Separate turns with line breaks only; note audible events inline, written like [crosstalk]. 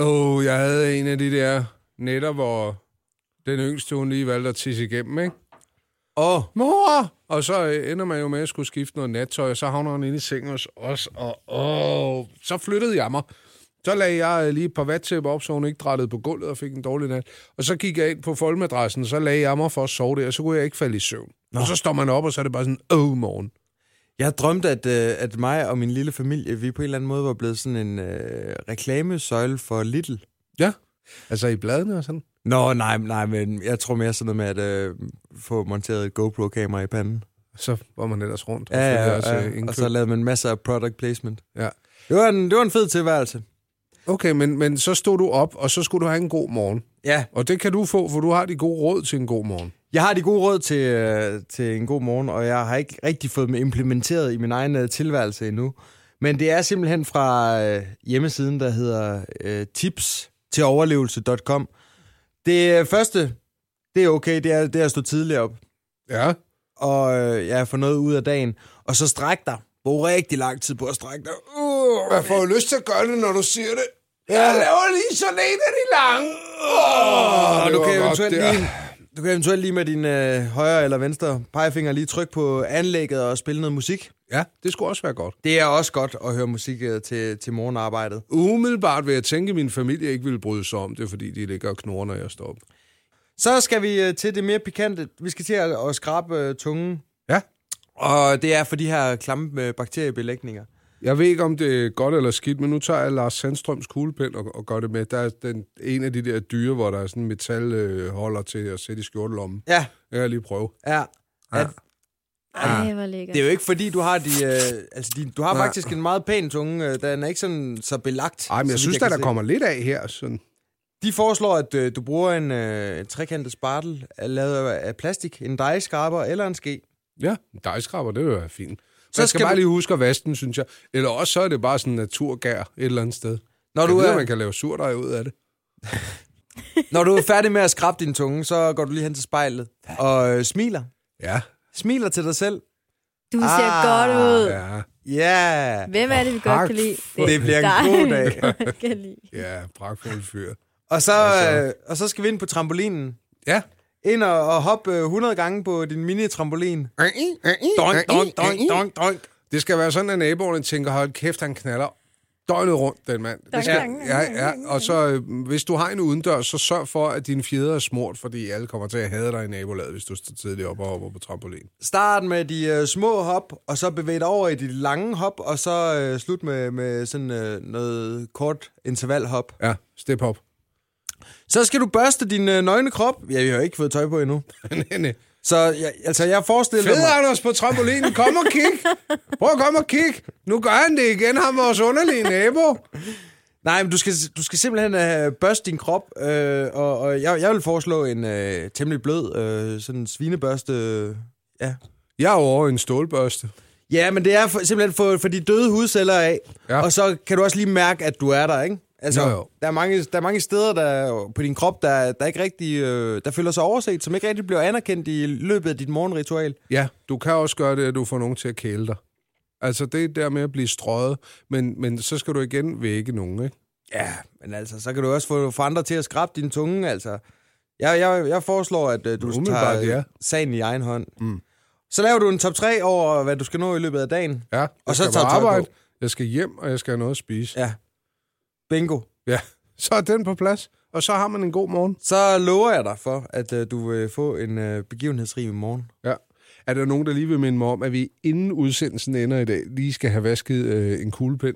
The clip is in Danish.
Åh, oh, jeg havde en af de der netter, hvor den yngste, hun lige valgte at tisse igennem, ikke? Åh, oh, mor! Og så øh, ender man jo med at skulle skifte noget nattøj, og så havner hun inde i sengen hos os, og åh, så flyttede jeg mig. Så lagde jeg øh, lige et par vattæpper op, så hun ikke drættede på gulvet og fik en dårlig nat. Og så gik jeg ind på foldmadrassen, så lagde jeg mig for at sove der, og så kunne jeg ikke falde i søvn. Nå. Og så står man op, og så er det bare sådan, åh, oh, morgen.
Jeg drømte, at, øh, at mig og min lille familie, vi på en eller anden måde var blevet sådan en øh, reklamesøjle for Little.
Ja, altså i bladene og sådan.
Nå, nej, nej, men jeg tror mere sådan noget med at øh, få monteret et GoPro-kamera i panden.
Så var man ellers rundt. og
Ja,
følte
ja,
også, øh,
ja.
indkøb.
Og så lavede man masser af product placement.
ja.
Det var en, det var en fed tilværelse.
Okay, men, men så stod du op, og så skulle du have en god morgen.
Ja,
Og det kan du få, for du har de gode råd til en god morgen.
jeg har de gode råd til, øh, til en god morgen, og jeg har ikke rigtig fået dem implementeret i min egen øh, tilværelse endnu. Men det er simpelthen fra øh, hjemmesiden, der hedder øh, tips til overlevelse.com. Det øh, første, det er okay, det er, det er at stå tidligt op.
Ja.
og øh, ja, få noget ud af dagen. Og så stræk dig. Brug rigtig lang tid på at strække dig. Uh,
Jeg får jo lyst til at gøre det, når du siger det. Jeg laver lige sådan en af de lange. Oh,
og
det
du
var
kan,
godt
eventuelt
der.
lige, du kan eventuelt lige med din øh, højre eller venstre pegefinger lige trykke på anlægget og spille noget musik.
Ja, det skulle også være godt.
Det er også godt at høre musik øh, til, til morgenarbejdet.
Umiddelbart vil jeg tænke, at min familie ikke ville bryde sig om det, fordi de ligger og knurrer, når jeg står op.
Så skal vi øh, til det mere pikante. Vi skal til at, at skrabe øh, tungen.
Ja.
Og det er for de her klamme øh, bakteriebelægninger.
Jeg ved ikke, om det er godt eller skidt, men nu tager jeg Lars Sandstrøms kuglepind og, og gør det med. Der er den, en af de der dyre, hvor der er sådan en metalholder til at sætte i skjortelommen.
Ja,
Jeg kan lige prøve.
ja. At,
Ej, hvor lækkert.
Ah. Det er jo ikke fordi, du har de, øh, altså de, du har
Nej.
faktisk en meget pæn tunge. Øh, den er ikke sådan så belagt.
Ej, men jeg
så vidt
synes,
kan
at der
se.
kommer lidt af her. Sådan.
De foreslår, at øh, du bruger en øh, trekantet spartel af- lavet af, af plastik, en dejskraber eller en ske.
Ja, en dejskraber, det vil være fint. Så
Så
man skal,
skal
bare
vi-
lige huske at vaske den, synes jeg. Eller også så er det bare sådan en naturgær et eller andet sted.
Når
Og
du,
du ved, at man
er,
kan lave surdej ud af det.
når du er færdig med at skrabe din tunge, så går du lige hen til spejlet og øh, smiler.
Ja,
Smiler til dig selv.
Du ser
Ah,
godt ud.
ja,
Ja, yeah.
Hvem er det, vi godt kan lide?
for-
det bliver
dig,
en god dag.
[laughs] vi godt kan lide.
ja, pragtfuld fyr.
Og så,
Altså.
øh, og så skal vi ind på trampolinen.
Ja.
Ind og, og hoppe øh, 100 gange på din mini-trampolin. Donk, donk, donk, donk, donk.
Det skal være sådan, at naboerne tænker, hold kæft, han knaller døgnet rundt, den mand. Det skal,
dong,
ja, ja. Og så, øh, hvis du har en udendørs, så sørg for, at dine fjeder er smurt, fordi alle kommer til at hade dig i nabolaget, hvis du står tidligt op og hopper på trampolin.
Start med de øh, små hop, og så bevæg dig over i de lange hop, og så øh, slut med, med sådan øh, noget kort intervalhop.
Ja, step op.
Så skal du børste din øh, nøgne krop. Ja, vi har jo ikke fået tøj på endnu.
[laughs] nej, nej.
Så jeg, altså, jeg forestiller
Fed
mig...
Anders på trampolinen. Kom og kig. Prøv at komme og kig. Nu gør han det igen, ham vores underlige nabo.
Nej, men du skal, du skal simpelthen øh, børste din krop, øh, og, og jeg, jeg vil foreslå en øh, temmelig blød øh, sådan svinebørste. Øh, ja.
Jeg er jo over i en stålbørste.
ja, men det er for, simpelthen for, for de døde hudceller af,
Ja.
ja. og så kan du også lige mærke, at du er der, ikke? Altså,
Jo, jo.
Der, er mange, der er mange steder der, på din krop, der, der ikke rigtig, øh, der føler sig overset, som ikke rigtig bliver anerkendt i løbet af dit morgenritual.
Ja, du kan også gøre det, at du får nogen til at kæle dig. Altså, det er der med at blive strøget, men, men så skal du igen vække nogen, ikke?
Ja, men altså, så kan du også få, få andre til at skrabe din tunge, altså. Jeg, jeg, jeg foreslår, at øh, du
Umiddelbart,
tager øh,
ja.
sagen i egen hånd. Mm. Så laver du en top 3 over, hvad du skal nå i løbet af dagen.
Ja, jeg
Og så
skal
tager
på
du tøj på.
arbejde, jeg skal hjem, og jeg skal have noget at spise. Ja.
Ja. Bingo.
ja. Så er den på plads, og så har man en god morgen.
Så lover jeg dig for, at øh, du vil få en øh, begivenhedsrig morgen.
Ja. Er der nogen, der lige vil minde mig om, at vi inden udsendelsen ender i dag, lige skal have vasket øh, en kuglepind